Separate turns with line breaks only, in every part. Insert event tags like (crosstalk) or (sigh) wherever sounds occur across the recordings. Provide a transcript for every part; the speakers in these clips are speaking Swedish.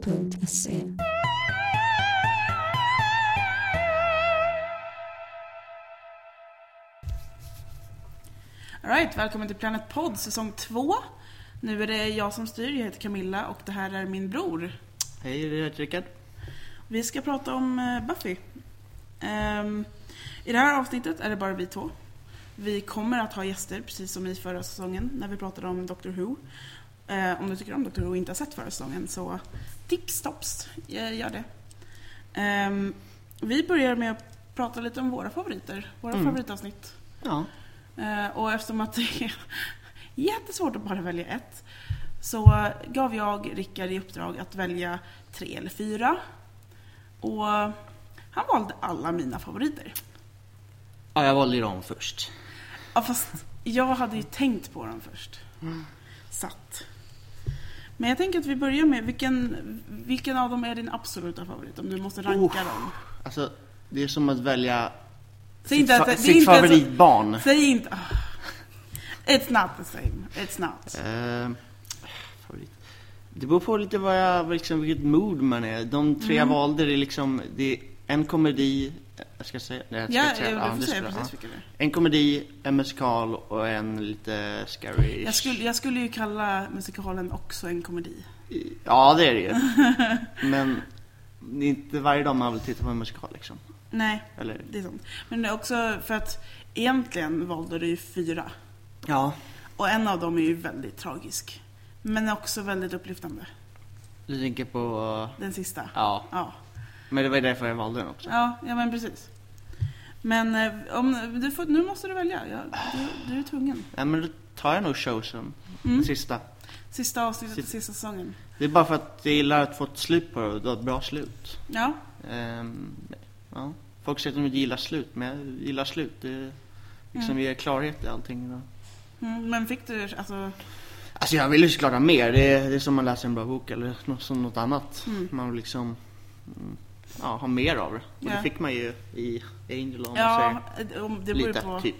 planeten.se.
Alright, välkommen till Planet Pod säsong 2. Nu är det jag som styr, jag heter Camilla och det här är min bror.
Hej, det är Rickard.
Vi ska prata om eh, Buffy. Ehm, I det här avsnittet är det bara vi två. Vi kommer att ha gäster, precis som i förra säsongen när vi pratade om Doctor Who. Eh, om du tycker om Doctor Who och inte har sett förra säsongen så tips tops, eh, gör det. Ehm, vi börjar med att prata lite om våra favoriter, våra
Mm.
favoritavsnitt.
Ja.
Eh, Och eftersom att det är (laughs) jättesvårt att bara välja ett så gav jag Rickard i uppdrag att välja tre eller fyra. Och han valde alla mina favoriter.
ja, jag valde ju dem först.
Ja, fast jag hade ju tänkt på dem först. Satt. Men jag tänker att vi börjar med, vilken, vilken av dem är din absoluta favorit? Om du måste ranka
Uff.
dem.
Alltså, det är som att välja
Säg
sitt,
inte att
fa-
det- det är
sitt
inte ens-
favoritbarn.
Säg inte... (laughs) ah. It's not the same. It's not.
Eh, favorit. Det beror på lite vad jag, liksom, vilket mood man är. De tre
Mm.
jag valde, det är liksom, det är en komedi, jag ska säga, nej, jag ska
Ja,
inte säga-
jag får
det
säga
ska-
precis
ja.
vilken det är.
En komedi, en musikal och en lite scary.
Jag skulle, jag skulle ju kalla musikalen också en komedi.
Ja, det är det ju. (laughs) Men det är inte varje dag man vill titta på en musikal liksom.
Nej,
Eller?
det är sant. Men det är också för att egentligen valde du ju fyra.
Ja.
Och en av dem är ju väldigt tragisk. Men också väldigt upplyftande.
Du tänker på...
Den sista.
Ja.
Ja,
Men det var ju därför jag valde den också.
ja, ja men precis. Men eh, om, du får, nu måste du välja. Ja, du, du är tvungen.
Nej men då tar jag nog Chosen,
Mm.
den sista.
Sista avsnittet i
Sist-
sista säsongen.
Det är bara för att jag gillar att få ett slut på det och det var ett bra slut.
Ja,
Ehm, ja. Folk säger att de inte gillar slut, men jag gillar slut. Det liksom ger klarhet i allting. Och...
mm, men fick du alltså...
Alltså jag vill ju såklart ha mer. Det är, det är som man läser en bra bok eller något, som något annat.
Mm.
Man vill liksom mm, ja, ha mer av det. Och
Ja.
det fick man ju i Angel om man
Ja, eh, om det
säger.
beror
Lite,
på...
typ.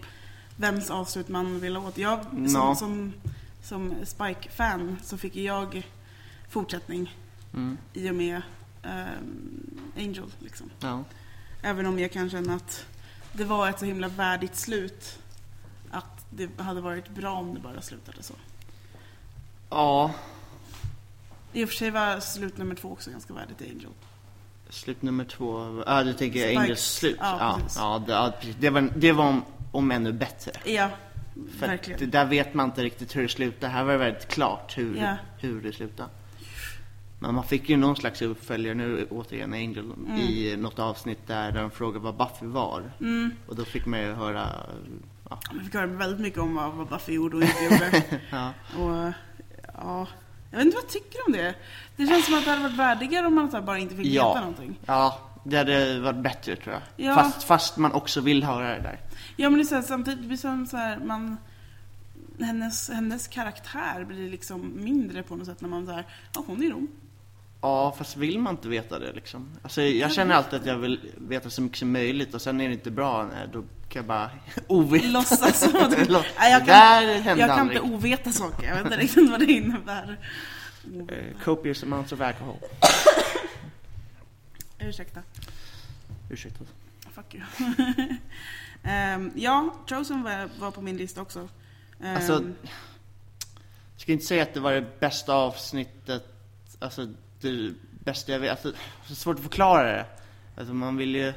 vems avslut man vill åt. Jag, som,
Ja.
som, som Spike-fan så fick ju jag fortsättning
Mm.
i och med ehm, Angel. Liksom.
Ja.
Även om jag kan känna att det var ett så himla värdigt slut. Att det hade varit bra om det bara slutade så.
ja,
I och för sig var slut nummer två också ganska värdigt i Angel.
Slut nummer två, ja du tänker
Spikes.
Engels slut?
Ja,
Ja,
precis.
ja, det, ja precis. det var, det var om, om ännu bättre.
Ja,
För att
verkligen.
det där vet man inte riktigt hur det slutar. Här var det väldigt klart hur,
Ja.
hur det slutar. Men man fick ju någon slags uppföljare, nu återigen Angel, i något avsnitt där de frågade vad Buffy var.
Mm.
Och då fick man ju höra, ja.
Vi fick höra väldigt mycket om vad vad Buffy gjorde och inte gjorde.
(laughs) ja.
Och ja, jag vet inte vad jag tycker om det. Det känns som att det hade varit värdigare om man så här bara inte fick veta
Ja.
någonting.
ja det hade varit bättre tror jag.
Ja.
Fast, fast man också vill höra det där.
Ja men det är så här, samtidigt blir det som så här, man hennes, hennes karaktär blir liksom mindre på något sätt när man säger ja hon är rom.
Ja, fast vill man inte veta det liksom? Alltså, jag känner alltid att jag vill veta så mycket som möjligt och sen är det inte bra, nej, då kan jag bara (laughs) oveta.
Låtsas som
(laughs)
att
Lå-
Nej, jag kan,
Det där hände
jag kan
aldrig.
inte oveta saker, jag vet inte riktigt vad det innebär. Oh,
Eh, copious amounts of alcohol.
Ursäkta.
Ursäkta.
Fuck you. (laughs) Ehm, ja, Chosen var, var på min lista också. Ehm,
Alltså, jag ska inte säga att det var det bästa avsnittet, alltså det bästa jag vet, alltså, det är svårt att förklara det. Alltså man vill ju,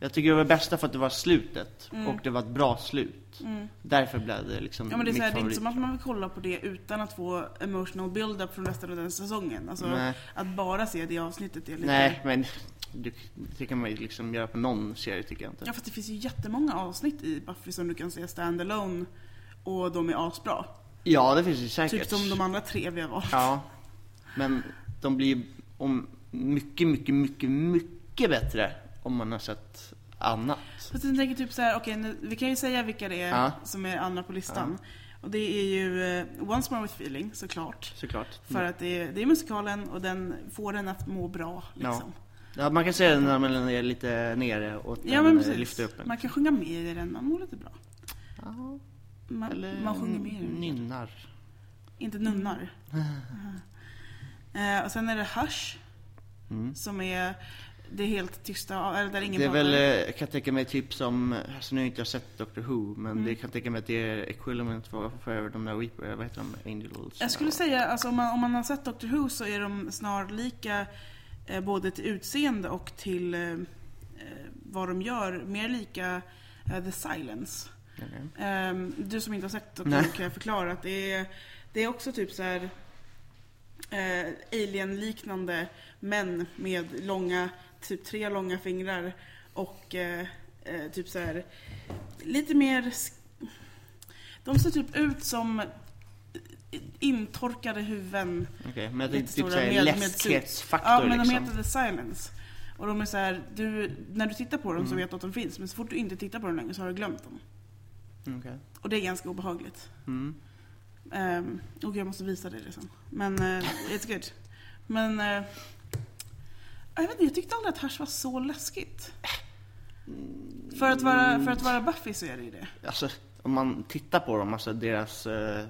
jag tycker det var det bästa för att det var slutet
Mm.
och det var ett bra slut.
mm.
Därför blev det liksom
Ja men det är,
mitt
så här, det är inte
favorit.
som att man vill kolla på det utan att få emotional build-up från resten av den säsongen. Alltså
Nej.
att bara se det avsnittet är lite...
Nej, men du, det kan man ju liksom göra på någon serie tycker jag inte.
Ja fast det finns ju jättemånga avsnitt i Buffy som du kan se standalone och de är asbra.
Ja, det finns det säkert.
Typ som de andra tre vi har valt. (laughs)
Ja. Men de blir ju om mycket, mycket, mycket, mycket bättre om man har sett annat.
Fast jag tänker typ såhär, okej nu- vi kan ju säga vilka det är
Ja.
som är andra på listan. Och det är ju eh, Once More With Feeling såklart.
Såklart.
För att det är, det är musikalen och den får den att må bra liksom.
Ja, man kan säga det när man är lite nere och
Ja,
den,
men
eh,
precis.
lyfter upp en.
Man kan sjunga med i den, man mår lite bra.
Ja,
Man,
eller
man sjunger med i den.
(laughs) nynnar.
Inte nunnar. Eh, och sen är det Hush,
Mm.
som är det helt tysta, eller där ingen
Det är
pratar.
väl, eh, kan jag tänka mig, typ som, alltså nu har jag inte jag sett Doctor Who, men
Mm.
det kan jag tänka mig att det är equivalent för, för de där Weeper, vad heter de, Angels?
Jag skulle säga, alltså, om, man, om man har sett Doctor Who så är de snarlika eh, både till utseende och till eh, eh, vad de gör, mer lika eh, The Silence.
Okej.
Ehm, du som inte har sett Doctor
Nej.
Who kan jag förklara att det är, det är också typ så här eh, alien-liknande män med långa, typ tre långa fingrar och eh, eh, typ så här lite mer sk- de ser typ ut som intorkade huvuden.
Okej, men jag tänkte typ
Jättestora
såhär
med- med
läskighetsfaktor
Ja, men
liksom.
de heter The Silence. Och de är så här, du, när du tittar på dem
Mm.
så vet du att de finns, men så fort du inte tittar på dem längre så har du glömt dem.
Okej.
Och det är ganska obehagligt.
Mm.
Um, och jag måste visa dig det sen. Men eh, it's good. Men eh, jag vet inte, jag tyckte aldrig att Hush var så läskigt. För att vara, för att vara Buffy så är det ju det.
Alltså, om man tittar på dem, alltså deras... Eh,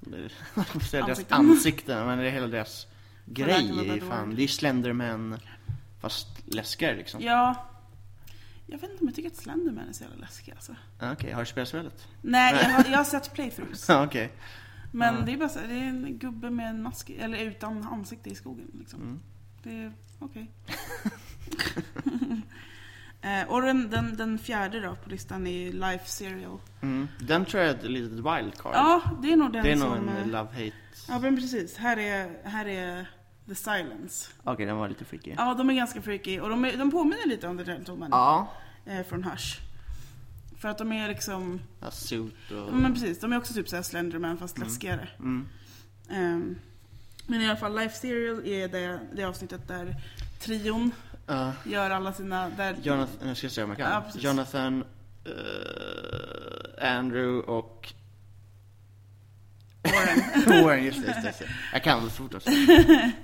(laughs) vad ska man säga, deras
Ansikten.
ansikten, men det är hela deras
verkligen
grej.
vara
är
bad
Fan.
word.
Det är ju Slenderman, fast läskigare liksom.
Ja. Jag vet inte om jag tycker att Slenderman är så jävla läskig alltså.
Ah, Okej, har du spelat spelet? (laughs)
Nej, jag har, jag har sett playthroughs.
Ja, Okej.
Men
Ja.
det är bara så, här, det är en gubbe med en mask, eller utan ansikte i skogen liksom.
Mm.
Det är okej. (laughs) Eh, och den, den, den fjärde då på listan är Life Serial.
Mm. Den tror jag är ett litet wildcard.
Ja, det är nog den
det är
som...
nog en
eh,
love-hate...
Ja men precis, här är, här är The Silence.
Okej, den var lite freaky.
Ja de är ganska freaky och de, är, de påminner lite om The Gentleman
Ja.
eh, från Hush. För att de är liksom,
Ja, suit och...
ja, men precis, de är också typ såhär Slenderman fast
Mm.
läskigare.
Mm.
Ehm, men i alla fall Life Serial är det, det avsnittet där trion
Ja,
gör alla sina, där,
Eh, Jonathan, nu ska jag se om jag kan.
Ja, precis.
Jonathan, eh, Andrew och
(laughs) Warren.
Warren, just det, just det, just det. Jag kan det så
(laughs)
fort också.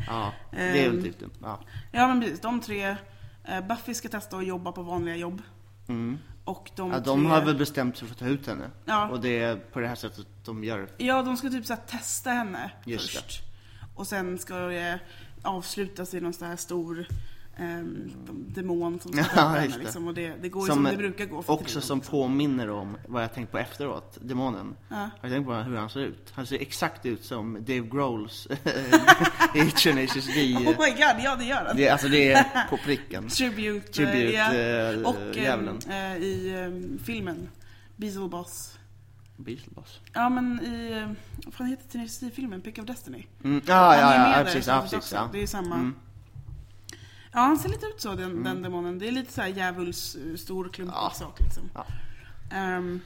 Ja, det är väl
Ehm.
typ det. Ja.
ja men precis, de tre, eh, Buffy ska testa att jobba på vanliga jobb.
Mm.
Och de,
ja, de
tre,
har väl bestämt sig för att ta ut henne.
ja,
Och det är på det här sättet de gör.
Ja, de ska typ så här testa henne
Just
först. Och sen ska det avslutas i någon sån här stor ehm, demon
(laughs)
som ska
Ja,
ta upp henne.
just det.
Liksom. Och det, det går ju
Som,
som,
eh,
det brukar gå för
Också
trillen,
som
liksom.
påminner om vad jag tänkt på efteråt, demonen.
Ja.
Har du tänkt på hur han ser ut? Han ser exakt ut som Dave Grohls (laughs) eh, i Tenacious D.
(laughs) Oh my god, ja det gör den.
Det, alltså det är på
(laughs)
pricken.
Tribute. eh,
Tribute,
ja.
eh,
Och ehm,
djävulen.
eh, i ehm, filmen, Beelzebubs.
Beatles.
Ja men i, eh, vad fan heter Tenacious filmen Pick of Destiny?
Mm, ja,
Han är
ja,
med
ja,
där
ja, precis,
som
ja,
sagt
precis,
också.
ja.
Det är ju samma.
Mm.
Ja, han ser lite ut så den, den demonen. Det är lite såhär djävuls eh, stor klumpig
Ja.
sak liksom.
Ja.
Ehm,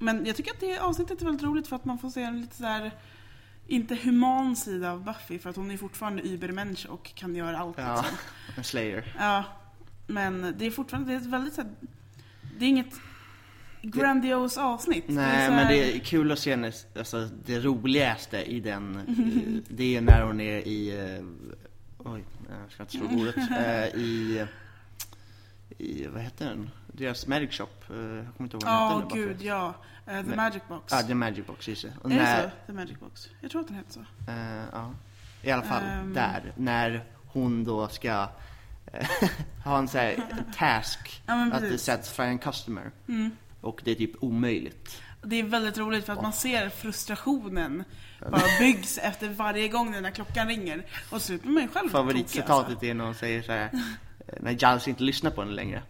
men jag tycker att det avsnittet är väldigt roligt för att man får se en lite såhär inte human sida av Buffy för att hon är fortfarande übermensch och kan göra allt
Ja,
liksom.
en slayer.
Ja. Men det är fortfarande, det är ett väldigt såhär, det är inget grandios avsnitt. Det är
Nej,
så
men
här-
det är kul att se henne, alltså det roligaste i den,
Mm.
eh, det är när hon är i, eh, oj, jag ska inte slå bordet,
Mm.
eh, i, i, vad heter den? Deras magic shop, eh, jag kommer inte ihåg vad den
Ja,
heter nu bara för-
gud ja. Eh, The
Nej.
Magic Box.
Ja, det är magic box, just det. Och
Är
när,
det så? The Magic Box? Jag tror att den heter så.
eh, ja, i alla fall
Ehm.
där, när hon då ska eh, (laughs) ha en sån här task,
Ja men
att det
Mm, precis.
sätts för en customer.
Mm.
Och det är typ omöjligt.
Det är väldigt roligt för att man ser frustrationen bara byggs efter varje gång den där klockan ringer. Och så blir man ju (laughs) själv tokig, alltså.
Favoritcitatet är när hon säger så här, eh, när Giles inte lyssnar på henne längre.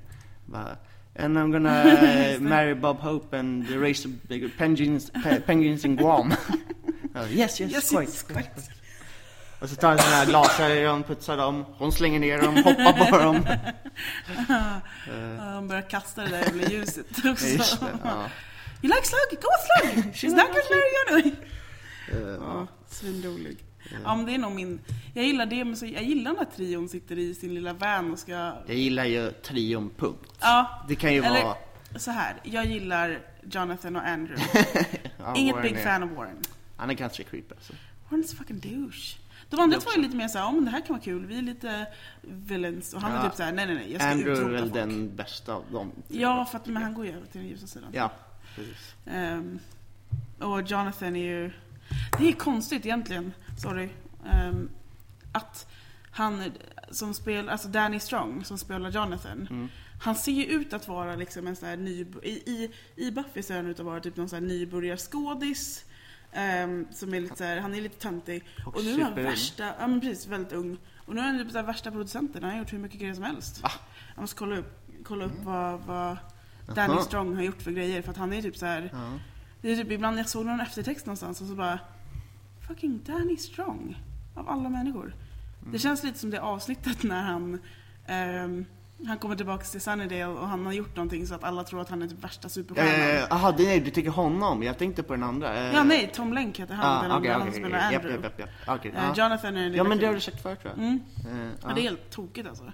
Bara, And
(laughs)
I'm gonna eh, marry Bob Hope and raise the penguins, pe- penguins in Guam. (laughs) Ja, yes, yes,
Yes,
quite.
yes, quite.
Och så tar han sina glasögon, putsar dem, hon slänger ner dem, hoppar
(laughs)
på dem.
Ja, Hon börjar kasta det där jävla ljuset också.
Eh, (laughs) Just det, ja.
You like slug? Go slug!
(laughs)
She's not gonna marry you!
Eh,
Ja, svinrolig. Ja men det är nog min, jag gillar det men så, jag gillar när trion sitter i sin lilla van och ska,
Jag gillar ju trion, punkt.
ja
Det kan ju
Eller-
vara... (laughs)
så här. jag gillar Jonathan och Andrew.
ja,
Inget
Warren
big
är-
fan av Warren.
Han är ganska creepy alltså.
Warrens fucking douche. De andra
Det
två är lite mer såhär, ja men det här kan vara kul, vi är lite villains. Och han är
Ja.
typ såhär, nej nej nej, jag ska
Andrew är
utrota
väl
folk.
den bästa av dem.
Ja, för att men han går ju över till den ljusa sidan.
Ja, precis.
Ehm, och Jonathan är ju... Det är konstigt egentligen, sorry. Ehm, Att han som spelar, alltså Danny Strong som spelar Jonathan.
Mm.
Han ser ju ut att vara liksom en sån här ny... I, i, i Buffy ser han ut att vara typ någon sån här nybörjarskådis. ehm, som är lite så här, han är lite töntig.
Och,
Och nu är han
superung.
värsta, ja men precis, väldigt ung. Och nu är han typ så här värsta producenten, han har gjort hur mycket grejer som helst.
Va? Mm.
Jag måste kolla upp, kolla upp vad, vad Danny
Jaha.
Strong har gjort för grejer för att han är typ så här.
Ja.
Det är typ ibland jag såg någon eftertext någonstans och så bara Fucking Danny Strong. Av alla människor.
Mm.
Det känns lite som det avsnittet när han ehm, Han kommer tillbaka till Sunnydale och han har gjort någonting så att alla tror att han är typ värsta
Ja,
superstjärnan.
ja, ja. Eh, Aha, det, nej, du tycker honom. Jag tänkte på den andra. eh.
Ja, nej, Tom Lenk heter han, den
Ah,
andra,
okej,
han
okej,
spelar
okej. Japp,
Andrew.
japp, japp, japp. Okej,
Eh,
ja.
Jonathan är den
Ja,
lilla
men det har du
killen.
sagt förut tror jag.
mm.
Eh,
ja, det är helt tokigt alltså.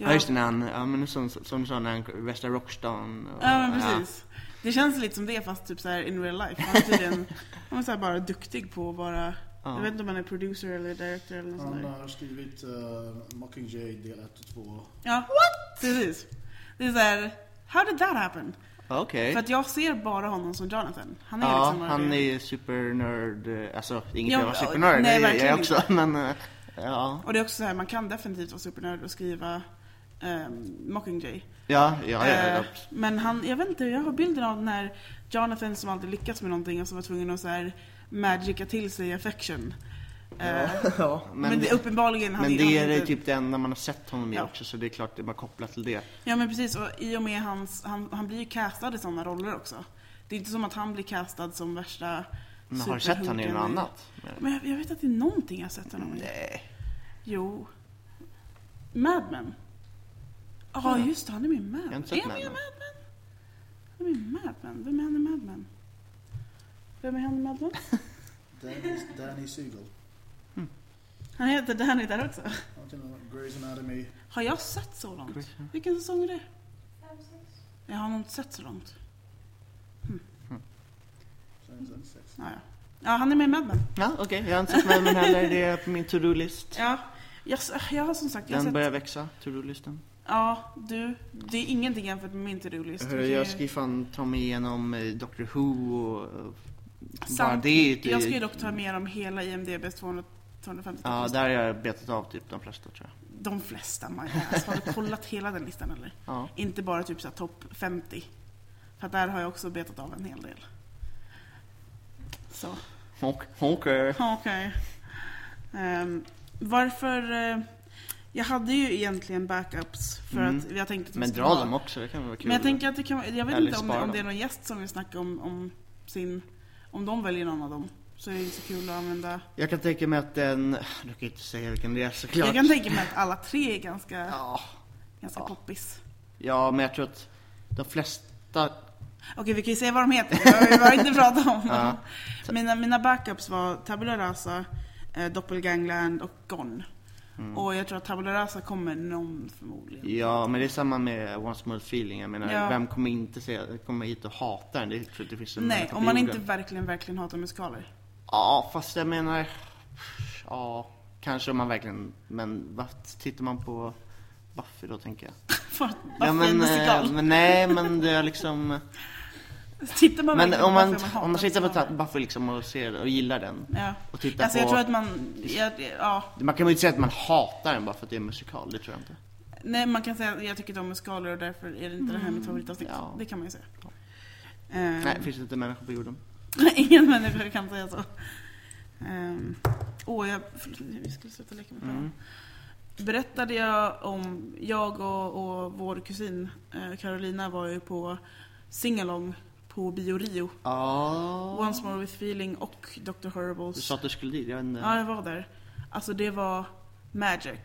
Ja just det, när han, ja men som, som du sa, när han, värsta rockstan och,
Ja men precis. Det känns lite som det fast typ så här in real life. Han är tydligen han är så här bara duktig på att vara,
Ja.
jag vet inte om han är producer eller director eller
Ah,
något sånt
Han
där.
har skrivit eh, Mockingjay del 1 och 2.
Ja, What? precis. Det är så här, how did that happen?
Ja, Okej.
För att jag ser bara honom som Jonathan. Han är
ja,
liksom bara
han
det.
är ju supernörd, eh, alltså inget
Ja,
jag var
ja, nej,
supernörd, nej, det är
verkligen
jag också, men eh, ja.
Och det är också så här, man kan definitivt vara supernörd och skriva ehm, Mockingjay.
Ja, ja, ja, ja.
Eh, men han, jag vet inte, jag har bilden av den här Jonathan som alltid lyckas med någonting och som var tvungen att så här magica till sig affection. Eh,
(laughs) ja.
Men, det, uppenbarligen, han
men
han
det är
inte-
typ det enda man har sett honom i
Ja.
också, så det är klart det är bara kopplat till det.
Ja men precis, och i och med hans, han, han blir ju castad i sådana roller också. Det är inte som att han blir castad som värsta
Men har du sett honom i
superhunken
något annat?
Men jag, jag vet att det är någonting jag har sett honom i.
Nej.
Jo. Mad Men. Ja
Ja.
just det, han är med i Mad
har
Men.
inte sett
Är han med i
Mad
Mad Men? Han är med i Mad Men. Vem är han i Mad Men? Vem är han i Mad Men?
Danny, Danny Siegel.
Han heter Danny där också.
Han kan ha Grey's Anatomy.
Har jag sett så långt? Vilken säsong är det? Jag har nog inte sett så långt.
sen- sen sex.
Ja, ja. ja han är med i Mad Men.
Ja, okej, jag har inte sett med men heller, det är på min to-do-list.
Ja, jag, jag har som sagt... Jag har
Den
sett,
börjar växa, to-do-listen.
Ja, du. Det är ingenting jämfört med min to-do-list.
Hörru,
Vi kan
jag
ju-
ska ju fan ta mig igenom eh, Doctor Who och... eh, Bara
Samt-
det är typ- ju...
jag ska ju dock ta med dem hela IMDBs 200, 250
Ja,
ja,
där har jag betat av typ de flesta tror jag.
De flesta, my ass. Har du kollat hela den listan eller?
Ja.
Inte bara typ såhär topp 50. För att där har jag också betat av en hel del. Så,
Honk, honker.
ja, okej. Ehm, varför... eh, jag hade ju egentligen backups för
Mm.
att jag tänkte att vi
Men
skulle
dra
ha-
dem också, det kan vara kul.
Men jag tänker att det kan Jag vet
Eller
inte om det,
spara
om
dem.
det är någon gäst som vill snacka om, om sin... Om de väljer någon av dem. Så är det inte så kul att använda.
Jag kan tänka mig att den... Du kan ju inte säga vilken det är såklart.
Jag kan tänka mig att alla tre är ganska,
Ja.
ganska
Ja.
poppis.
ja, men jag tror att de flesta...
Okej, vi kan ju säga vad de heter. Det har vi bara inte pratat om.
(laughs) Ja.
Mina, mina backups var Tabula Rasa, eh, Doppelgangland och Gone.
Mm.
Och jag tror att Tabula Rasa kommer någon förmodligen.
Ja, men det är samma med Once More Feeling. Jag menar,
Ja.
vem kommer inte se, kommer hit och hata den? Det tror jag inte finns en
Nej,
människa på
om man
jorden.
inte verkligen, verkligen hatar musikaler. (laughs)
Ja, fast jag menar... Ja, kanske om man verkligen... Men vad tittar man på Buffy då, tänker jag?
För att Buffy
Ja,
är en
men, eh,
musikal.
men nej, men det är liksom...
(laughs) Tittar man
Men
verkligen
om man,
Buffy
om man
hatar
sitter
musikaler?
på Buffy liksom och, ser, och gillar den
Ja.
och tittar
Alltså
på...
jag tror att man, jag, ja,
Man kan ju inte säga att man hatar den bara för att det är en musikal, det tror jag inte.
nej man kan säga att jag tycker inte om musikaler och därför är det inte det här mitt favoritavsnitt.
Mm, Ja.
Det kan man ju säga.
Ja.
Ehm,
Nej, det finns inte människor på jorden.
(laughs) ingen människa kan säga så. Ehm, Åh, jag, förlåt, nej, vi skulle sluta leka med mm.
Mm.
Berättade jag om, jag och, och vår kusin eh, Carolina var ju på singalong på Bio Rio.
Ja.
Once More With Feeling och Dr. Horribles.
Du sa att du skulle dit, jag vet inte.
Ja, jag var där. Alltså det var magic.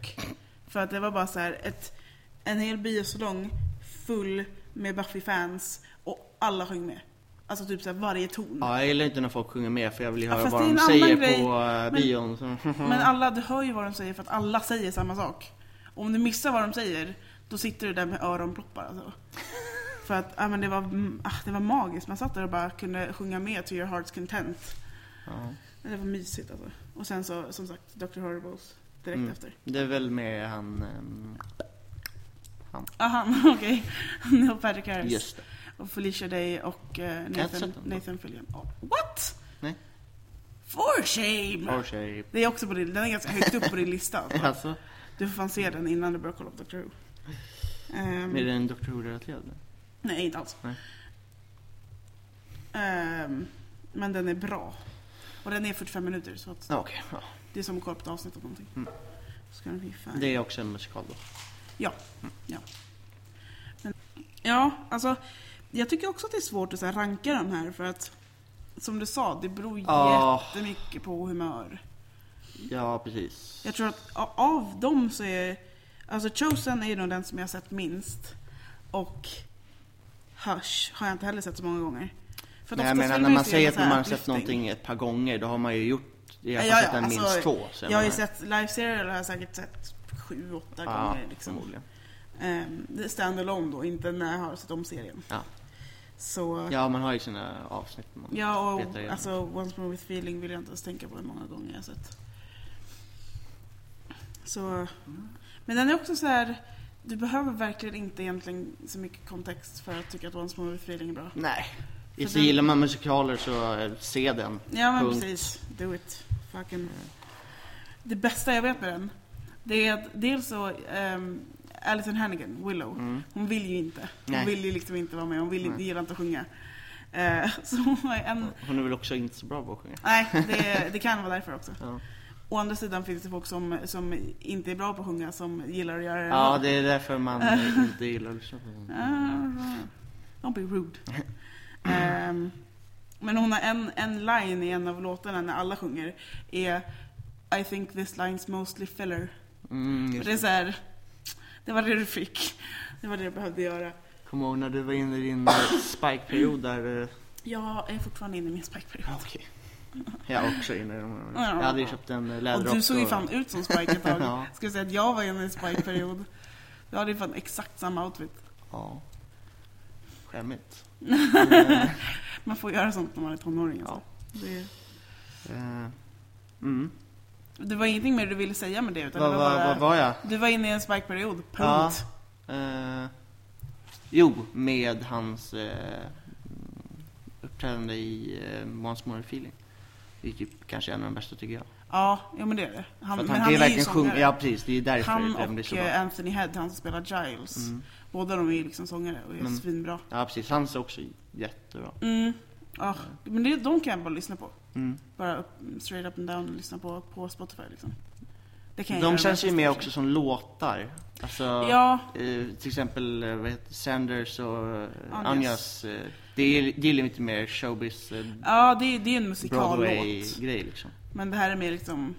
För att det var bara så här ett, en hel biosalong full med Buffy-fans och alla sjöng med. Alltså typ så här varje ton.
Ja, jag gillar inte när folk sjunger med för jag vill ju
Ja,
höra
fast
vad
det är
de
en annan
säger
grej.
på uh, bion. Så, (laughs)
Men alla, du hör ju vad de säger för att alla säger samma sak. Och om du missar vad de säger, då sitter du där med öronproppar alltså.
(laughs)
För att ja, men det, var, mm, ah, det var magiskt, man satt där och bara kunde sjunga med till your heart's content.
ja.
Men Det var mysigt alltså. Och sen så, som sagt, Dr. Horribles direkt
Mm.
efter.
Det är väl med han... Um,
Aha, (laughs) okej. Neil Patrick Harris.
just det.
Och Felicia Day och eh,
inte sett
Nathan,
dem.
Nathan Fillion. Oh, what?
Nej.
For shame!
Or shape.
Det är också på din, den är ganska högt upp på din lista. Alltså.
(laughs) Alltså,
Du får fan se den innan du börjar kolla på Dr. Who. Ehm,
är det en Dr. Who-relaterad?
Nej, inte alls.
Nej.
Ehm, men den är bra. Och den är 45 minuter så att
Ja, Okej, ja.
det är som att kolla på ett avsnitt av någonting.
Mm.
Ska den bli fan.
det är också en musikal då.
Ja, alltså jag tycker också att det är svårt att så här, ranka de här för att som du sa, det beror
Ja.
jättemycket på humör.
Ja, precis.
Jag tror att a- av dem så är Alltså Chosen är ju nog den som jag har sett minst. Och Hush har jag inte heller sett så många gånger. För att
Nej,
oftast
men
filmer
när man
så är det
säger att
så här
man har sett
uplifting.
någonting ett par gånger, då har man ju gjort i alla
Ja,
fall
ja,
sett den
alltså,
minst två. så
Jag har ju
menar-
sett Live Serial har jag säkert sett sju, åtta
ja,
gånger. Liksom.
förmodligen.
Ehm, det är stand-alone då, inte när jag har sett om serien.
Ja.
Så, ja,
Ja, man har ju sina avsnitt. Man... Petar
och
igen.
alltså Once More With Feeling vill jag inte ens tänka på hur många gånger jag har sett. Så, men den är också så här. Du behöver verkligen inte egentligen så mycket kontext för att tycka att Once More With Feeling är bra.
Nej.
För
Så
den-
gillar man musikaler så eh, se den.
Ja men
Punkt.
precis, do it. Fucking. Det bästa jag vet med den, det är att dels så, um, Alison Hannigan, Willow,
Mm.
hon vill ju inte. Hon
Nej. Mm.
vill ju liksom inte vara med, hon vill,
Nej.
gillar inte att sjunga. Eh, (laughs) så hon har ju en...
Hon är väl också inte så bra på att sjunga.
Nej, det, det kan vara därför också.
(laughs) Ja.
Å andra sidan finns det folk som, som inte är bra på att sjunga som gillar att göra det.
ja, det är
(laughs)
därför man eh, inte gillar att lyssna på den.
Ah, Don't be
(laughs)
rude. Ehm, men hon har en, en line i en av låtarna när alla sjunger. Är I think this line's mostly filler.
Mm,
Och
just
det är
det.
så här, det var det du fick. Det var det du behövde göra.
Kommer ihåg när du var inne i din eh, spike-period där... eh,
Jag är fortfarande inne i min spikeperiod.
Ja, Okej. Jag är också inne i de här. Jag hade ju köpt en eh, läderrock.
Och du såg ju
och-
fan ut som Spike ett tag.
(laughs) Ja.
Ska jag säga att jag var inne i en spikeperiod. Du hade ju fan exakt samma outfit.
Ja. Skämmigt.
(laughs) Man får göra sånt när man är tonåring alltså. det,
Eh, Mm.
det var ingenting mer du ville säga med det utan
Vad
det
var,
var bara...
var, var jag?
Du var inne i en spikeperiod, punkt.
Ja. Eh, jo, med hans eh, uppträdande i eh, Once More Feeling. Det är typ kanske en av de bästa tycker jag.
Ja, jo men det är det. Han,
För att
men
han, det är verkligen
sångare.
sjung... Ja precis, det är därför
Han
den blir
och
så bra.
eh, Anthony Head, han som spelar Giles.
Mm.
Båda de är ju liksom sångare och är
Mm.
svinbra.
Ja precis, hans är också jättebra.
Mm. Ah, men det, de kan jag bara lyssna på.
Mm.
Bara upp, straight up and down och lyssna på, på Spotify liksom. Det kan jag
De
göra
känns ju
bäst,
med
kanske.
också som låtar. Alltså,
Ja,
eh, till exempel eh, vad heter Sanders och eh,
Anjas.
Anjas. eh, det, är, det är lite mer showbiz, eh,
ja det, är- det är en musikallåt.
Broadway-grej liksom.
Men det här är mer liksom...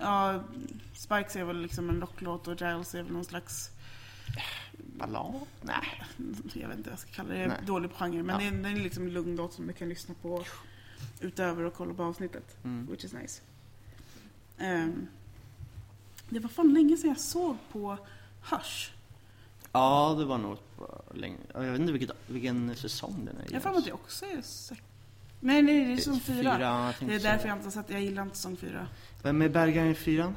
Ja, Spikes är väl liksom en rocklåt och Giles är väl någon slags...
Ballad? Nej.
jag vet inte vad jag ska kalla det, jag är
Nej.
dålig på genre. Men
Ja.
det, är, det är liksom en lugn låt som du kan lyssna på utöver och kolla på avsnittet.
Mm.
Which is nice. Ehm, det var fan länge sedan jag såg på Hush.
Ja, det var nog ett par länge. Ja, Jag vet inte vilket, vilken säsong den är i alltså.
Jag har för mig
ens.
att det också är sex... Nej, nej, det är
Eh,
som fyra.
jag
Det
tänkte
är därför
säga.
jag inte har sett, jag gillar inte säsong fyra.
Vem är Bergaren i fyran?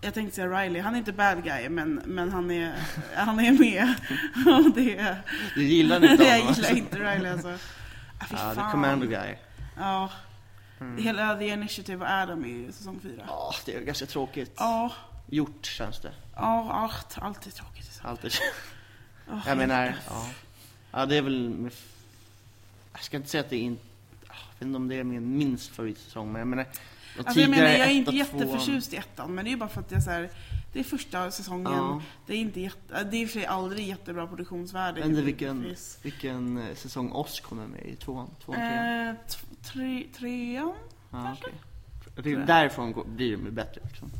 Jag tänkte säga Riley, han är inte bad guy men, men han, är, han är med. (laughs) Och det är...
Du
(laughs)
gillar inte honom?
jag
alltså.
gillar inte Riley
(laughs)
alltså. Ah, fy
Ja, det är
fan.
Commando Guy.
Ja.
Mm.
Hela The Initiative och Adam i säsong 4.
Ja, Ah, det är ganska tråkigt.
Ja,
Gjort känns det.
ja, allt, allt är tråkigt. Alltså. (laughs)
Allt är...
Oh,
Jag menar, ja. Ja, det är väl... med f- Jag ska inte säga att det är... In... ah, Jag vet inte om det är min minst favoritsäsong, men jag menar... de
Alltså, jag menar,
tidigare
jag är inte
ett och tvåan-
jätteförtjust i ettan, men det är ju bara för att jag så här, det är första säsongen.
Ja,
Det är inte jätte, det är i och för sig aldrig jättebra produktionsvärde.
Men det är vilken-
givetvis.
vilken eh, säsong Oss kommer med i? Tvåan? Tvåan? Trean?
Eh, t- tre, trean? (laughs)
Ja,
kanske?
okej. Jag tycker Därifrån går- blir de ju bättre liksom.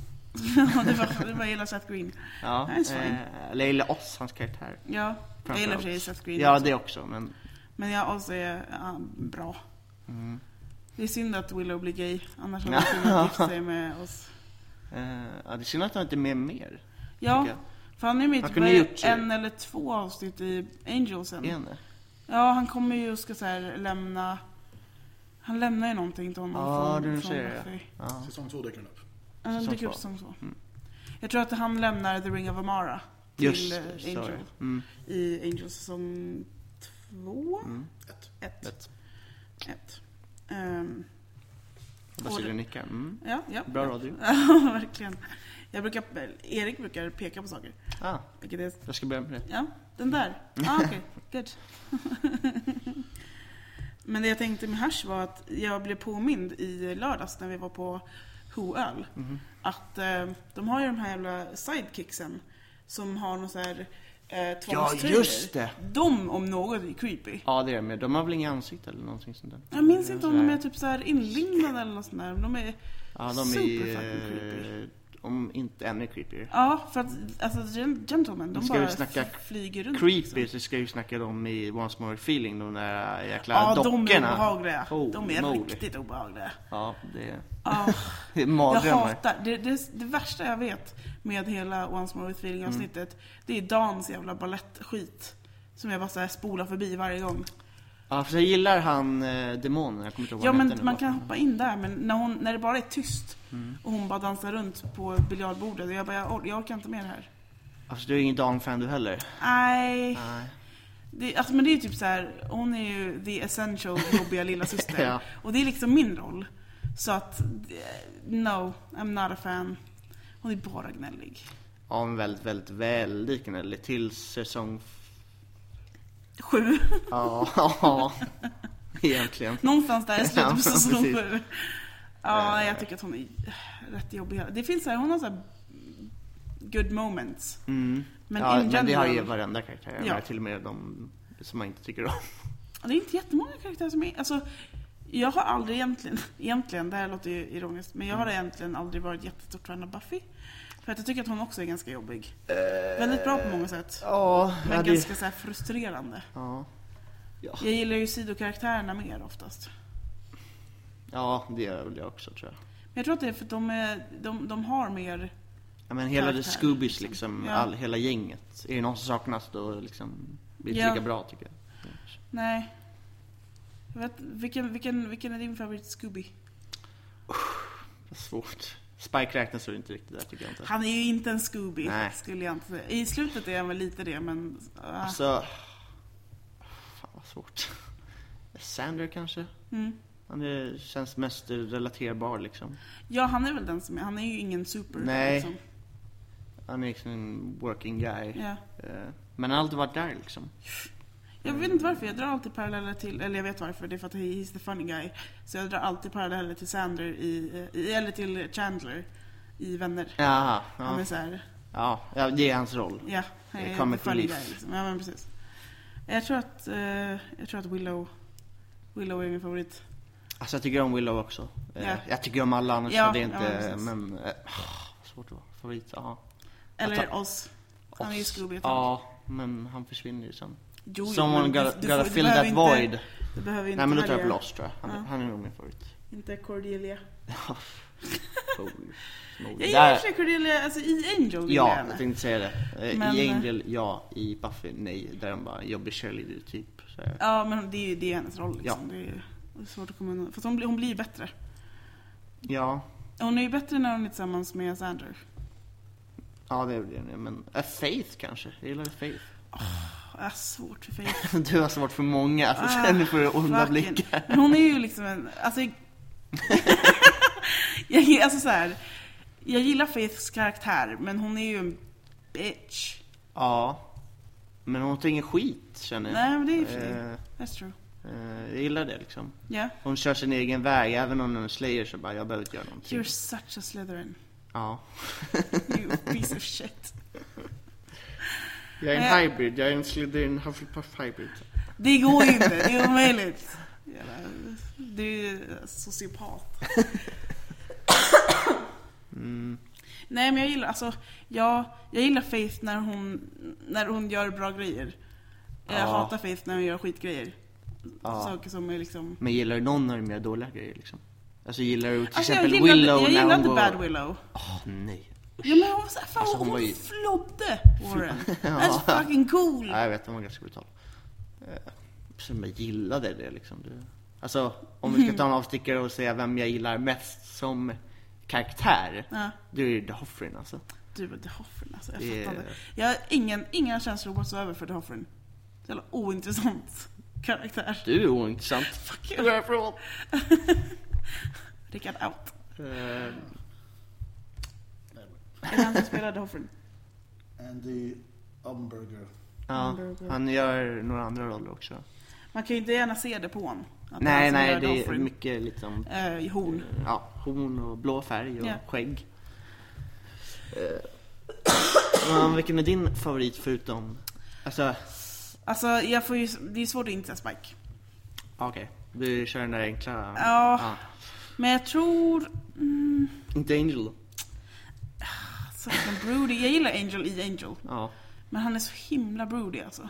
det var, det var jag gillar Seth Green.
Ja,
Nej, så är det.
eh, eller jag gillar oss, hans karaktär.
Ja, jag gillar i och för sig
framförallt.
Seth Green
Ja,
också.
det också, men...
Men jag också är ja, bra.
Mm.
Det är synd att Willow blir gay, annars hade
(laughs) Ja.
hon kunnat gifta sig med oss.
Eh, ja, det är synd att han inte är med mer.
Ja,
tycker jag.
För han är med i
Han
typ
kunde gjort
bara
sig.
en eller två avsnitt i Angelsen.
Är han det?
Ja, han kommer ju och ska så här lämna... Han lämnar ju någonting till honom
Ja,
från,
du
från
ser det.
Buffy.
Ja.
Säsong två dyker den upp.
Ja, det
Säsong
dyker upp
två.
säsong två.
Mm.
Jag tror att han lämnar The Ring of Amara till
Just
eh,
det, så är
Angel.
det. Mm.
I Angel säsong två?
Mm.
Ett.
Ett.
Ett.
Ett. Ehm,
Bara sitter och nickar. Mm.
Ja, ja.
Bra radio.
(laughs) Ja, verkligen. Jag brukar, Erik brukar peka på saker.
Ah,
Vilket är,
jag ska börja med det.
ja, den där.
(laughs)
Ah, Okej, good. (laughs) Men det jag tänkte med hash var att jag blev påmind i lördags när vi var på Hoöl.
Mhm.
Att eh, de har ju de här jävla sidekicksen som har någon så här eh,
Ja,
tvångströjor.
just det!
De om något är creepy.
Ja, det är de. De har väl inga ansikten eller någonting sånt där?
Jag minns inte om de är
Sådär.
typ så här inlindade eller något sånt där. men De är,
Ja, de
super
är
fucking
ju...
creepy.
Om inte ännu creepier.
ja, för att alltså, gen- gentlemen, de
Nu ska
bara
vi snacka
f- flyger runt.
Creepy, så ska vi snacka om i Once More Feeling, de där jäkla
Ja, de är
dockorna.
obehagliga. de är
Holy moly.
riktigt obehagliga.
Ja, det är,
Ja,
det är (laughs)
jag
mardrömmar.
hatar. Det, det, det värsta jag vet med hela Once More With Feeling avsnittet, det är Dans jävla balettskit. Som jag bara så här spolar förbi varje gång.
Ja, för jag gillar han eh, demonen, jag kommer inte ihåg
Ja
vad han
men
heter nu,
man
bara.
kan hoppa in där men när, hon, när det bara är tyst och hon bara dansar runt på biljardbordet och jag bara jag, or- jag orkar inte med det här.
Alltså du är ingen Dan-fan du heller?
Nej.
Nej.
Det, alltså, men det är ju typ så här, hon är ju the essential jobbiga lilla syster.
Ja.
Och det är liksom min roll. Så att, eh, no, I'm not a fan. Hon är bara gnällig.
Ja, men väldigt, väldigt, väldigt gnällig. Till säsong... f-
Sju.
Ja, ja. (laughs) Egentligen.
Någonstans
(laughs)
där i slutet på
Ja,
säsong
precis.
sju. Ja,
Eh.
jag tycker att hon är rätt jobbig. Det finns så här, hon har så här good moments.
Mm.
Men
ja,
in
men det har ju
general-
varenda karaktär. Jag
Ja.
menar, Till och med de som man inte tycker om.
Ja, Det är inte jättemånga karaktärer som är... Alltså, jag har aldrig egentligen, egentligen, det här låter ju ironiskt, men
Mm.
jag har egentligen aldrig varit jättestort fan av Buffy. För att jag tycker att hon också är ganska jobbig. Eh, Väldigt bra på många sätt.
Ja,
Men
Eh, ja, det-
ganska så här frustrerande.
ja.
Jag gillar ju sidokaraktärerna mer oftast.
ja, det gör väl jag också tror jag.
Men jag tror att det är för att de, är, de, de har mer...
Ja, men hela det
Karaktär,
Scoobies
liksom.
liksom,
Ja.
all, hela gänget. Är det någon som saknas då liksom, blir det
Ja.
lika bra tycker jag.
Nej. Jag vet, vilken, vilken, vilken är din favorit Scooby?
Vad svårt. Spike räknas väl inte riktigt där tycker jag inte.
Han är ju inte en Scooby,
Nej.
skulle jag inte säga. I slutet är han väl lite det, men... ah.
Alltså... Fan vad svårt. Sander kanske?
mm.
Han är, känns mest relaterbar liksom.
Ja, han är väl den som är. Han är ju ingen super.
Nej.
Liksom.
Han är liksom en working guy.
Ja.
Eh, Men han har alltid varit där liksom.
Jag vet inte varför, jag drar alltid paralleller till, eller jag vet varför, det är för att he- he's the funny guy. Så jag drar alltid paralleller till Sander i, i eller till Chandler i Vänner.
Jaha,
Han är
ja,
såhär,
ja. ja, det är hans roll.
ja, han
Det
är
kommer
the funny
till
guy
liv.
liksom. Ja men precis. Jag tror att, eh, jag tror att Willow, Willow är min favorit.
Alltså jag tycker om Willow också. Eh,
Ja.
Jag tycker om alla annars,
Ja,
så det är
ja,
inte,
precis.
men... eh, ah, svårt att vara favorit, ja. Jag
Eller
tar-
oss. Han är ju Scooby ett tag.
Ja, men han försvinner ju sen.
Jo, jo,
Someone
men
gotta,
du- du
gotta
får- du
fill
behöver
that
inte-
void.
Du behöver inte
Nej men då tar jag
välja.
upp Lost tror jag. Han,
Ja.
han är nog min favorit. (laughs)
Inte Cordelia.
Holy smoly.
Jag gillar i
Där-
och för sig Cordelia, alltså i Angel vill jag
Ja,
gärna.
jag tänkte säga det. Eh,
Men,
I
eh,
Angel, ja. I Buffy, nej. Där är han bara en jobbig cheerleader typ. Så här.
Ja, men det är ju det är hennes roll. Liksom. Det, är, ju- det är svårt att komma undan. Fast hon, blir- hon blir ju bättre.
Ja,
Hon är ju bättre när hon är tillsammans med Sander.
ja det är väl det. Men eh, Faith kanske? Jag gillar Faith. (laughs)
Jag har svårt för Faith.
Du har svårt för många. Alltså,
Ah,
sen får du onda
fucking-
blickar.
Men hon är ju liksom en... Alltså, (laughs) jag, alltså så här, jag gillar Faiths karaktär, men hon är ju en bitch.
Ja. Men hon tar ingen skit känner jag.
Nej, men det är ju för sig.
Eh,
That's true.
eh, jag gillar det liksom.
Yeah.
Hon kör sin egen väg, även om hon är slayer så bara, jag behöver inte göra någonting.
You're such a Slytherin.
Ja.
You piece of shit.
Jag är
Eh.
en hybrid, jag är en Slytherin Hufflepuff hybrid.
Det går ju inte, det är omöjligt. Jävla, du är ju sociopat.
Mm.
Nej men jag gillar, alltså, jag, jag gillar Faith när hon, när hon gör bra grejer. Jag
Ja.
hatar Faith när hon gör skitgrejer.
Ja.
Saker som är liksom...
Men gillar du någon av de mer dåliga grejer liksom? Alltså gillar du till
Alltså jag
exempel
gillar,
Willow
jag
när
gillar
hon
inte
går...
Bad Willow.
Åh nej.
Ja men hon, var så här, fan,
Alltså,
hon,
hon var ju-
flodde Warren.
(laughs)
Alltså,
Ja.
That's fucking cool.
Ja, jag vet, hon var ganska brutal. Eh, Som jag gillade det liksom. Det... Alltså om vi ska ta en avstickare och säga vem jag gillar mest som karaktär.
Ja,
Då är det Hoffrin alltså.
du var The Hoffren alltså, jag
Det är-
fattar inte. Jag har ingen, inga känslor whatsoever för The Hoffren. Jävla ointressant (laughs) karaktär.
Du är ointressant.
Fuck you.
Du är från.
(laughs) Rickard out.
Eh,
Är det han som spelade Hoffren?
Andy Umberger.
ja, han gör några andra roller också.
Man kan ju inte gärna se det på honom. att det är han
Nej,
som
nej,
gör
det är
Hoffren.
mycket liksom...
Eh, I horn.
Ja, horn och blå färg och
Ja.
skägg. Eh, (clears throat) men vilken är din favorit förutom... Alltså,
Alltså jag får ju, det är svårt att inte säga Spike.
ja, okej. Du kör den där enkla...
Ja. Men jag tror... Mm,
Inte Angel.
alltså, den broody. Jag gillar Angel i Angel.
Ja.
Men han är så himla broody alltså. (laughs)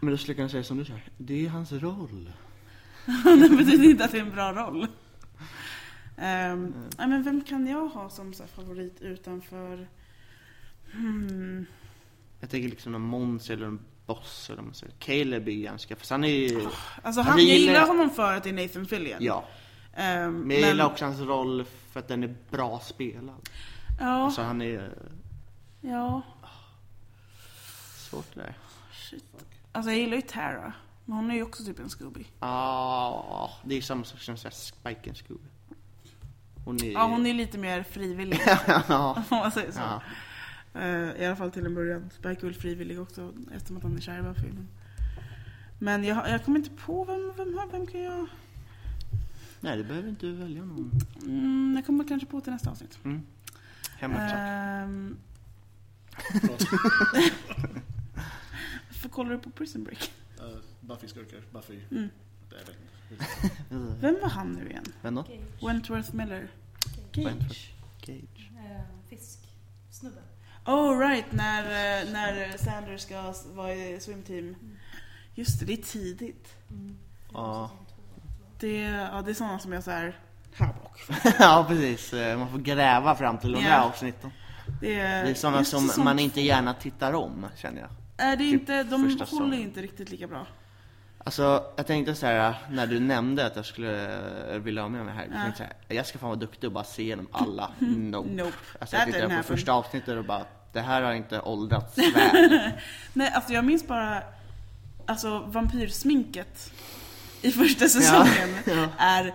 Men då skulle jag kunna säga som du kör. Det är hans roll.
det betyder inte att det är en bra roll. Ehm,
Eh,
nej, men vem kan jag ha som så här, favorit utanför... Hmm.
Jag tänker liksom en Måns eller en Boss eller vad man säger. Caleb är ju ganska... Fast han är ju...
Alltså, han,
Alltså, jag
jag gillar
gillar-
honom för att det är Nathan Fillion.
Ja.
Ehm,
Men jag gillar också hans roll för att den är bra spelad.
Ja,
Alltså han är...
ja.
Svårt det där.
Shit. Alltså jag gillar ju Tara. Men hon är ju också typ en Scooby.
Ja, Ah, det är samma sak som såhär Spike and Scooby. Hon är...
Ja, hon är lite mer frivillig.
(laughs) ja.
(laughs) Om man säger så.
ja.
Eh, I alla fall till en början. Spike är väl frivillig också eftersom att han är kär i Buffy. Men, men jag, jag kommer inte på vem, vem, vem kan jag...
Nej, du behöver inte välja någon.
Mm, jag kommer kanske på till nästa avsnitt.
Mm. Hemmaklack.
Ehm, (laughs) Varför kollar du på Prison Break?
Uh, Buffy-skurkar. Buffy.
Mm.
Det är väl...
Uh.
Eh, Vem var han nu igen?
Vem då?
Gage.
Wentworth Miller?
Wentworth. Gage.
Eh, Fisk. Snubben.
Oh right, när, eh, när Sanders ska s- vara i swimteam. Just det, det är tidigt.
Ja. (laughs)
Det, ja, det är sådana som jag så här... Här bak.
ja, precis. Eh, Man får gräva fram till de
Ja.
där avsnitten.
Det är,
Det är sådana
Eh, just
som
sånt-
man inte gärna tittar om, känner jag.
Är det
typ
inte, de
första
håller ju
säsongen.
inte riktigt lika bra.
Alltså, jag tänkte så här när du nämnde att jag skulle eh, vilja ha med mig här. Jag, tänkte så här, jag ska fan vara duktig och bara
(laughs)
se igenom alla. Nope.
Nope.
Alltså,
That
jag tittade
didn't
på
happen.
första avsnittet och bara, det här har
(laughs)
inte åldrats väl.
Nej, alltså jag minns bara alltså, vampyrsminket i första säsongen
ja.
är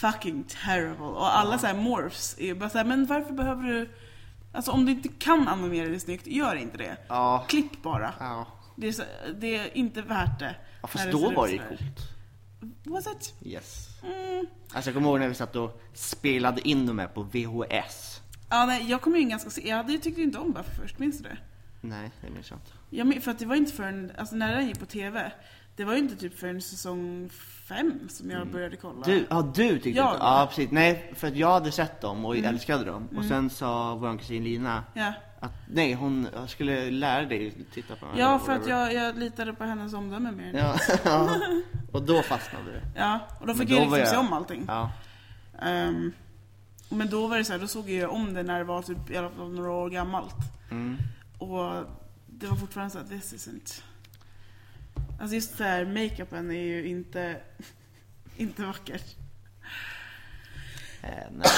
fucking terrible. Och alla så här morphs är ju bara så här, men varför behöver du... Alltså om du inte kan animera det snyggt, gör inte det.
Ja.
Klipp bara.
ja.
Det är, så, det är inte värt det.
ja
när
fast
ser
då
ut
var det
så
ju
här.
coolt.
Was it?
Yes.
Mm.
Alltså jag kommer ihåg när vi satt och spelade in de här på VHS.
Ja, nej, jag kom ju in ganska sent. Jag hade- jag tyckte ju inte om Buffy först, minns du det?
Nej, det minns jag inte.
Jag min- för att det var inte förrän, alltså när den gick på TV, det var ju inte typ förrän säsong fem som jag började kolla.
Mm. Du, ja du tyckte
Jag? Mm.
inte? Ja precis. Nej, för att jag hade sett dem och älskade dem. Och sen sa vår kusin Lina
Ja.
att nej, hon jag skulle lära dig att titta på dem.
Ja,
eller
för att
whatever.
jag, jag litade på hennes omdöme mer. Ja,
Ja, (laughs) ja. och då fastnade det.
och då
Men
fick
då
jag
var
liksom se
jag-
om allting.
Ja.
Ehm, men då var det så här, då såg jag om det när det var typ i alla fall några år gammalt.
Mm.
Och det var fortfarande så att this isn't... Alltså just så här, makeupen är ju inte, (laughs) inte vacker.
Eh, nej.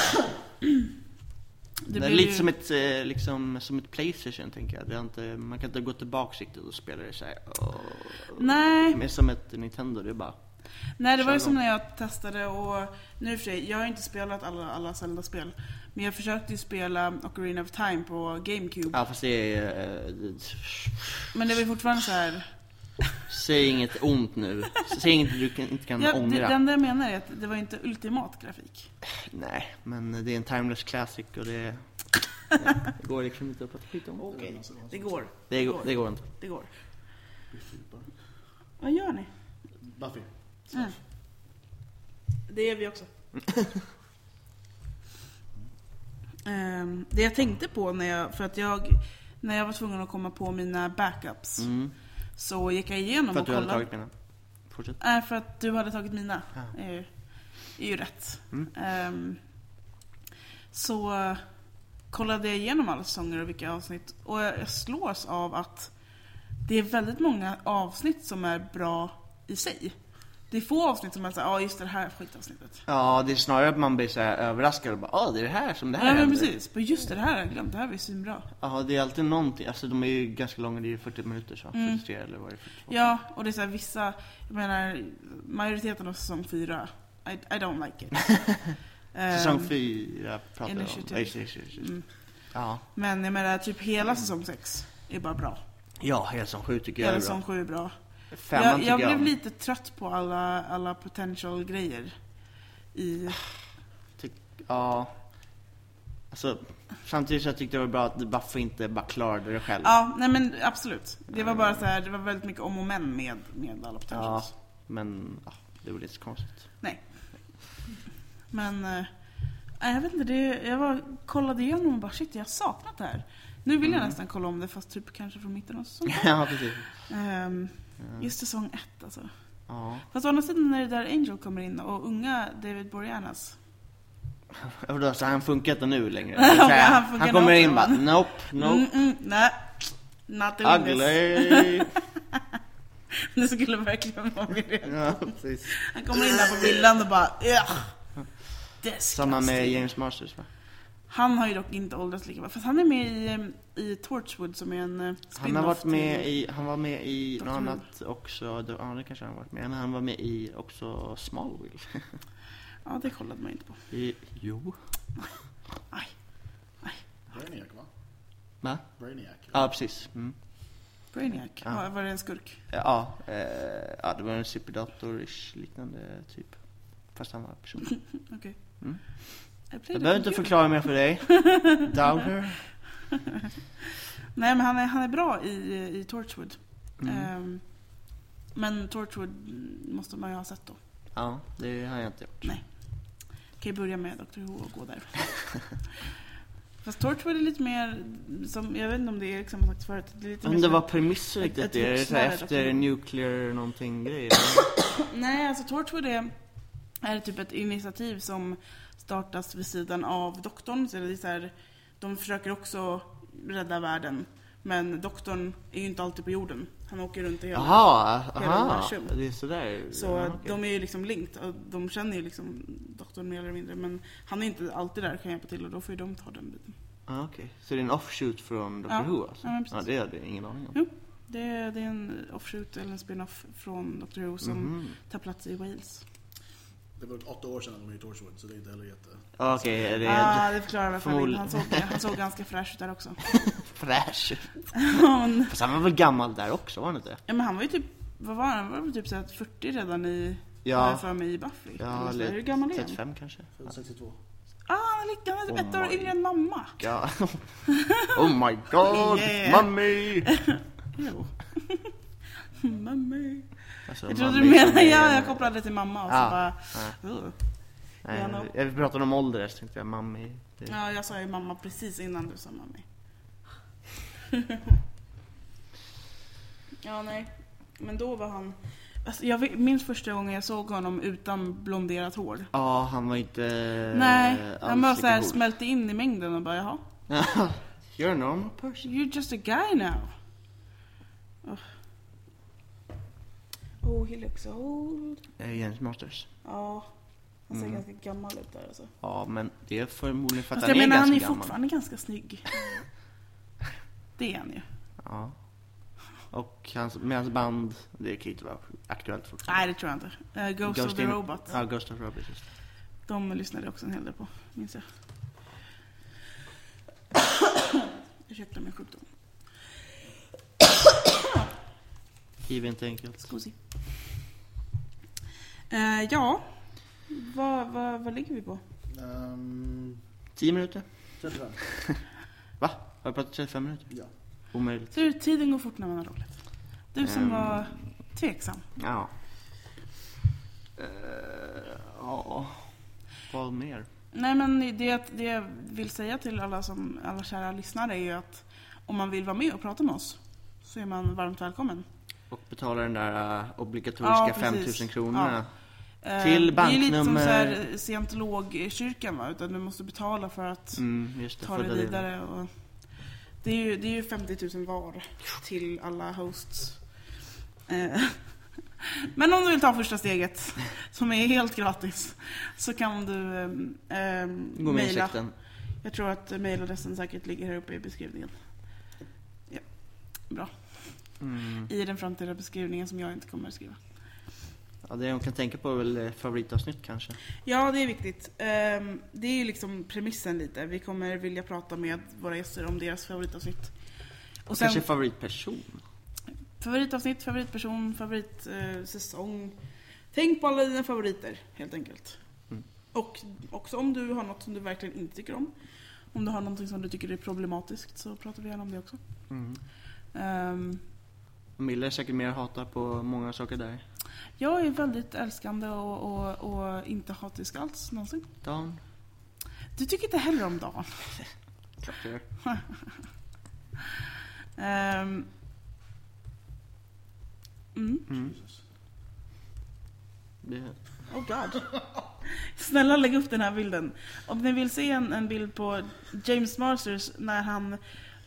Det,
blir
är lite
ju-
som ett, eh, liksom, som ett Playstation tänker jag. Det är inte, man kan inte gå tillbaka riktigt och spela det såhär.
Nej,
Mer som ett Nintendo, det är bara...
Nej det var ju
Kör
som när jag testade och nu i och för sig, jag har ju inte spelat alla, alla Zelda-spel. Men jag försökte ju spela Ocarina of Time på GameCube.
Ja fast det är... eh,
Men det var ju fortfarande så här.
Säg inget ont nu. Säg inget du kan, inte kan
Ja, det,
ångra.
det enda jag menar är att det var ju inte ultimat grafik.
Nej, men det är en timeless classic och
(laughs)
det... Det går liksom inte att prata skit om.
Okej, det går.
Det, går, det går inte.
Det går. Vad gör ni?
Buffy.
Mm. Det är vi också. (laughs) Ehm, det jag tänkte på när jag, för att jag, när jag var tvungen att komma på mina backups
Mm.
så gick jag igenom
För
och
att du hade
kollade.
tagit mina. Fortsätt.
Nej, för att du hade tagit mina.
Ja.
Är, ju, är ju rätt.
Mm.
Ehm, så eh, kollade jag igenom alla säsonger och vilka avsnitt. Och jag jag slås av att det är väldigt många avsnitt som är bra i sig. Det är få avsnitt som är såhär, ja just det här skitavsnittet.
Ja, det är snarare att man blir så här överraskad och bara ah det är det här som det här
Ja men
händer."
precis, men just det, det här har jag glömt, det här var ju svinbra.
Ja, det är alltid någonting. Alltså de är ju ganska långa, det är ju 40 minuter så.
Mm.
43 eller vad är det? 42?
Ja, och det är såhär vissa, jag menar majoriteten av säsong fyra I, I don't like it.
(laughs) Säsong
Ehm,
fyra pratar vi om.
Initiativ.
Ja, just det, just det, just det.
mm.
Ja.
Men jag menar, typ hela säsong 6 är bara bra.
Ja, hela säsong sju tycker jag
Hela
är bra.
säsong 7 är bra.
Femman
Jag,
tycker
jag blev
om.
lite trött på alla, alla potential grejer i...
Ja. Alltså, samtidigt så tyckte jag det var bra att Buffy inte bara klarade det själv.
Ja, nej men absolut. Det var bara så här, det var väldigt mycket om och men med, med alla potentials.
Men ja, det var lite så konstigt.
Men eh, nej, jag vet inte, det, jag var, kollade igenom och bara shit jag har saknat det här. Nu vill jag
Mm.
nästan kolla om det fast typ kanske från mitten av säsongen.
(laughs) ja, Mm. precis.
Ehm,
Ja.
just säsong ett alltså.
Ja.
Fast å andra sidan när det där Angel kommer in och unga David Boreanaz.
Och då, så han funkar inte nu längre.
(laughs) Ja,
Så här,
men han
han,
funkar
kommer
nog
in
också.
bara nope,
Mm,
nope,
mm, nej. Not doing this.
ugly.
(laughs) Det skulle verkligen vara min reaktion.
ja, precis.
Han kommer in där på villan och bara ugh.
Samma med
disgusting."
James Masters va?
Han har ju dock inte åldrats lika bra. Fast han är med i, eh, i Torchwood som är en eh,
Han har
spin-off
varit med
till-
i, han var med i
Doctor
något
Who.
annat också, då- ja det kanske han har varit med men han var med i också Smallville.
Ja, det kollade man inte på.
I, jo.
Aj.
Brainiac va?
Va?
Brainiac.
Ja precis. Mm.
Brainiac.
Ja.
Ja, var det en skurk?
Ja, eh, ja, det var en superdator-ish liknande typ. Fast han var
(laughs)
person.
Jag
Jag behöver inte förklara mer för
(laughs)
dig. Downer.
Nej, men han är, han är bra i, i Torchwood.
Mm.
Ehm, men Torchwood måste man ju ha sett då.
Ja, det har jag inte gjort.
Kan ju börja med Dr Who och gå
(laughs)
där. Fast Torchwood är lite mer, som, jag vet inte om det är som sagt förut. Det är lite mer
Om det
som-
var premisser
Ett-
riktigt,
ett
det är det så här
vuxnare Doctor
efter
Who.
nuclear
(coughs)
någonting grejer.
Nej, alltså Torchwood är, är typ ett initiativ som startas vid sidan av doktorn. Så det är så här, de försöker också rädda världen. Men doktorn är ju inte alltid på jorden. Han åker runt i hela...
Jaha,
Hela
aha,
universum.
det är sådär.
Så
Ja, okej.
de är ju liksom linked. Och de känner ju liksom doktorn mer eller mindre. Men han är inte alltid där och kan hjälpa till och då får ju de ta den biten.
Ja, okej. Så det är en offshoot från Doctor
Ja,
Who alltså?
ja, men precis.
Ja, det hade jag ingen aning om.
Jo, Det, är- det är en offshoot eller en spin-off från Doctor Who som
Mhm.
tar plats i Wales.
Det var åtta år sedan han var med i Torchwood så det är inte heller jätte...
Ja, Okej, är det
ah, det förklarar varför han,
förmodligen.
han, såg, han såg ganska fräsch ut där också.
(laughs)
(laughs)
fräsch?
Men-
Fast han var väl gammal där också, var han inte?
Ja men han var ju typ, vad var han? Han var väl typ så här 40 redan i, har jag
Ja,
för mig i Buffy.
ja
Eller så,
eller
hur gammal är han?
35 kanske?
Född 62.
Ah, han är, lika- han är typ
Oh
ett år
my.
yngre än mamma. (laughs)
Ja. Oh my god,
Yeah.
mommy!
Jo. (laughs) mamma.
Alltså,
Jag trodde
mommy
du menade,
som är-
ja jag kopplade till mamma och så
Ah.
bara, "Ugh."
Nej,
Gärna.
jag pratade om ålder så tänkte jag mammi. Det...
Ja jag sa ju mamma precis innan du sa mamma. ja nej. Men då var han, alltså, jag vet- minns första gången jag såg honom utan blonderat hår.
Ja, han var inte
Nej, han bara
Eh, alls
såhär
lika god.
smälte in i mängden och bara jaha.
(laughs) You're a normal person.
You're just a guy now. Ugh. Oh, he looks old.
Eh, James Masters.
Ja, han ser
Mm.
ganska gammal ut där alltså.
Ja, men det är förmodligen för att
Fast
han
jag
är
menar han är
ganska
ju
gammal.
fortfarande ganska
(laughs)
snygg. Det är han ju.
Ja. Och hans, med hans band, det kan ju inte vara aktuellt
Nej,
fortfarande.
det tror jag inte. Eh, Ghost, of
Ghost
the
in-
Robot.
Ja, Ghost of Robbie, just det.
De lyssnade jag också en hel del på, minns jag. (coughs) Ursäkta min sjukdom.
Giv inte enkelt.
Scusi. Eh, ja, vad, vad, vad ligger vi på?
Um,
10 minuter?
35.
Har jag pratat 35 minuter?
Ja.
Omöjligt.
Så tiden går fort när man har roligt. Du som
Ehm.
var tveksam.
Ja. Eh, Ja. Vad mer?
Nej men det, att- det jag vill säga till alla, som, alla kära lyssnare är ju att om man vill vara med och prata med oss så är man varmt välkommen.
Och betala den där eh, obligatoriska
Ja, precis.
5000 kronorna.
Eh,
Till
Det är ju lite som
banknummer-
så här scientologkyrkan va, utan du måste betala för att
Mm, just det.
ta
födda
dig
liv.
vidare. Och det, är ju, det är ju 50 000 var till alla hosts. Eh, (laughs) Men om du vill ta första steget, som är helt gratis, så kan du ehm, ehm,
Gå med i
mejla.
sekten.
Jag tror att mejladressen säkert ligger här uppe i beskrivningen. Ja. Bra.
Mm.
I den framtida beskrivningen som jag inte kommer att skriva.
Ja, det de kan tänka på är väl eh, favoritavsnitt kanske.
Ja, det är viktigt. Ehm, det är ju liksom premissen lite. Vi kommer vilja prata med våra gäster om deras favoritavsnitt.
Och
Och sen
kanske favoritperson.
favoritavsnitt, favoritperson, favoritsäsong. Tänk på alla dina favoriter helt enkelt.
Mm.
Och också om du har något som du verkligen inte tycker om. Om du har någonting som du tycker är problematiskt så pratar vi gärna om det också.
Mm.
Ehm,
Milla är säkert mer hata på många saker där.
jag är väldigt älskande och, och, och inte hatisk alls någonsin.
Dan,
Du tycker inte heller om Dan.
klart jag gör.
Ehm. Mm.
Mm.
Jesus.
Det,
Oh god. Snälla lägg upp den här bilden. Om ni vill se en, en bild på James Masters när han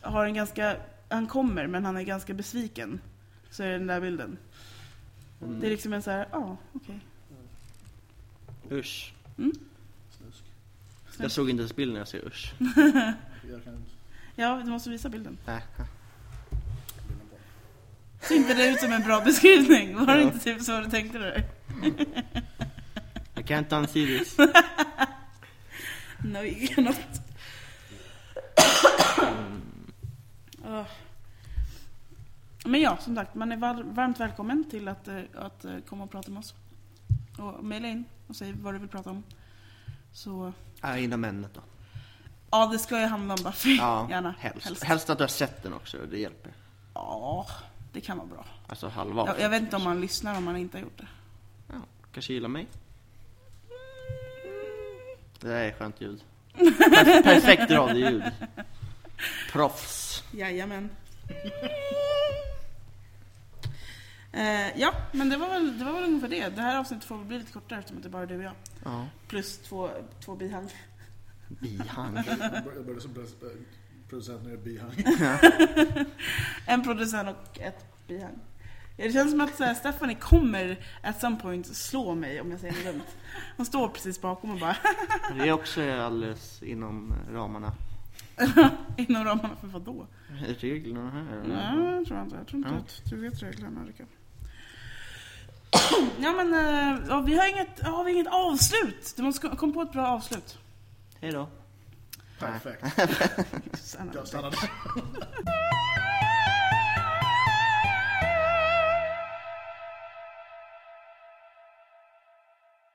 har en ganska... Han kommer men han är ganska besviken. Så är det den där bilden.
mm.
Det är liksom en så här, ja okej.
Mm. Usch.
Snusk.
Jag såg inte ens bilden när jag ser usch.
Jag kan inte
Ja, du måste visa bilden.
Äh.
bilden på.
Ser inte det ut som en bra beskrivning? Var det
Ja.
inte typ så du tänkte dig?
Jag kan inte unsee (laughs) this.
No, you cannot. Ah. Men ja, som sagt, man är var- varmt välkommen till att, eh, att eh, komma och prata med oss. Och mejla in och säg vad du vill prata om. Så,
Ah, inom ämnet då.
ja det ska ju handla om Buffy.
Ja,
(laughs) Gärna.
Helst.
Helst.
helst. att du har sett den också, det hjälper.
Ja, det kan vara bra.
Alltså halva
Jag, jag vet inte om man lyssnar om man inte har gjort det.
Ja, kanske gillar mig. Det där är skönt ljud. Per- Perfekt (laughs) radioljud. Proffs.
Jajamän. (laughs) Eh, ja, men det var, väl, det var väl ungefär det. Det här avsnittet får väl bli lite kortare eftersom att det bara är du och jag.
Ja.
Plus två, två bihang.
Bihang.
Jag bör- jag började som pres- eh, producent när jag är bihang.
En producent och ett bihang. Ja, Det känns som att så här, Stephanie kommer at some point slå mig om jag säger något dumt. Hon står precis bakom och bara (laughs)
Det är också alldeles inom ramarna.
inom ramarna för vadå?
Reglerna här.
Nej, jag tror inte. Jag tror inte
Mm. Ja.
att du vet reglerna Ulrika. (clears throat) Ja men eh, ja, vi har inget, har vi inget avslut. Du måste kom på ett bra avslut.
Hej då.
Perfekt.
Sanna.
Jag stannade.